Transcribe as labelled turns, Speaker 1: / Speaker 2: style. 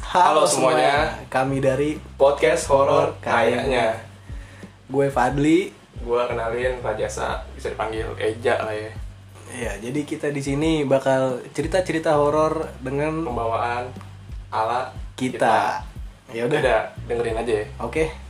Speaker 1: Halo semuanya.
Speaker 2: Kami dari
Speaker 1: Podcast horor
Speaker 2: Horor
Speaker 1: kayaknya.
Speaker 2: gue Fadli.
Speaker 1: Gua kenalin Rajasa, bisa dipanggil Eja lah ya.
Speaker 2: Ya, jadi kita di sini bakal cerita-cerita horor dengan
Speaker 1: Pembawaan ala Ya
Speaker 2: kita. Ya
Speaker 1: Udah,
Speaker 2: udah.
Speaker 1: udah dengerin aja ya.
Speaker 2: Oke.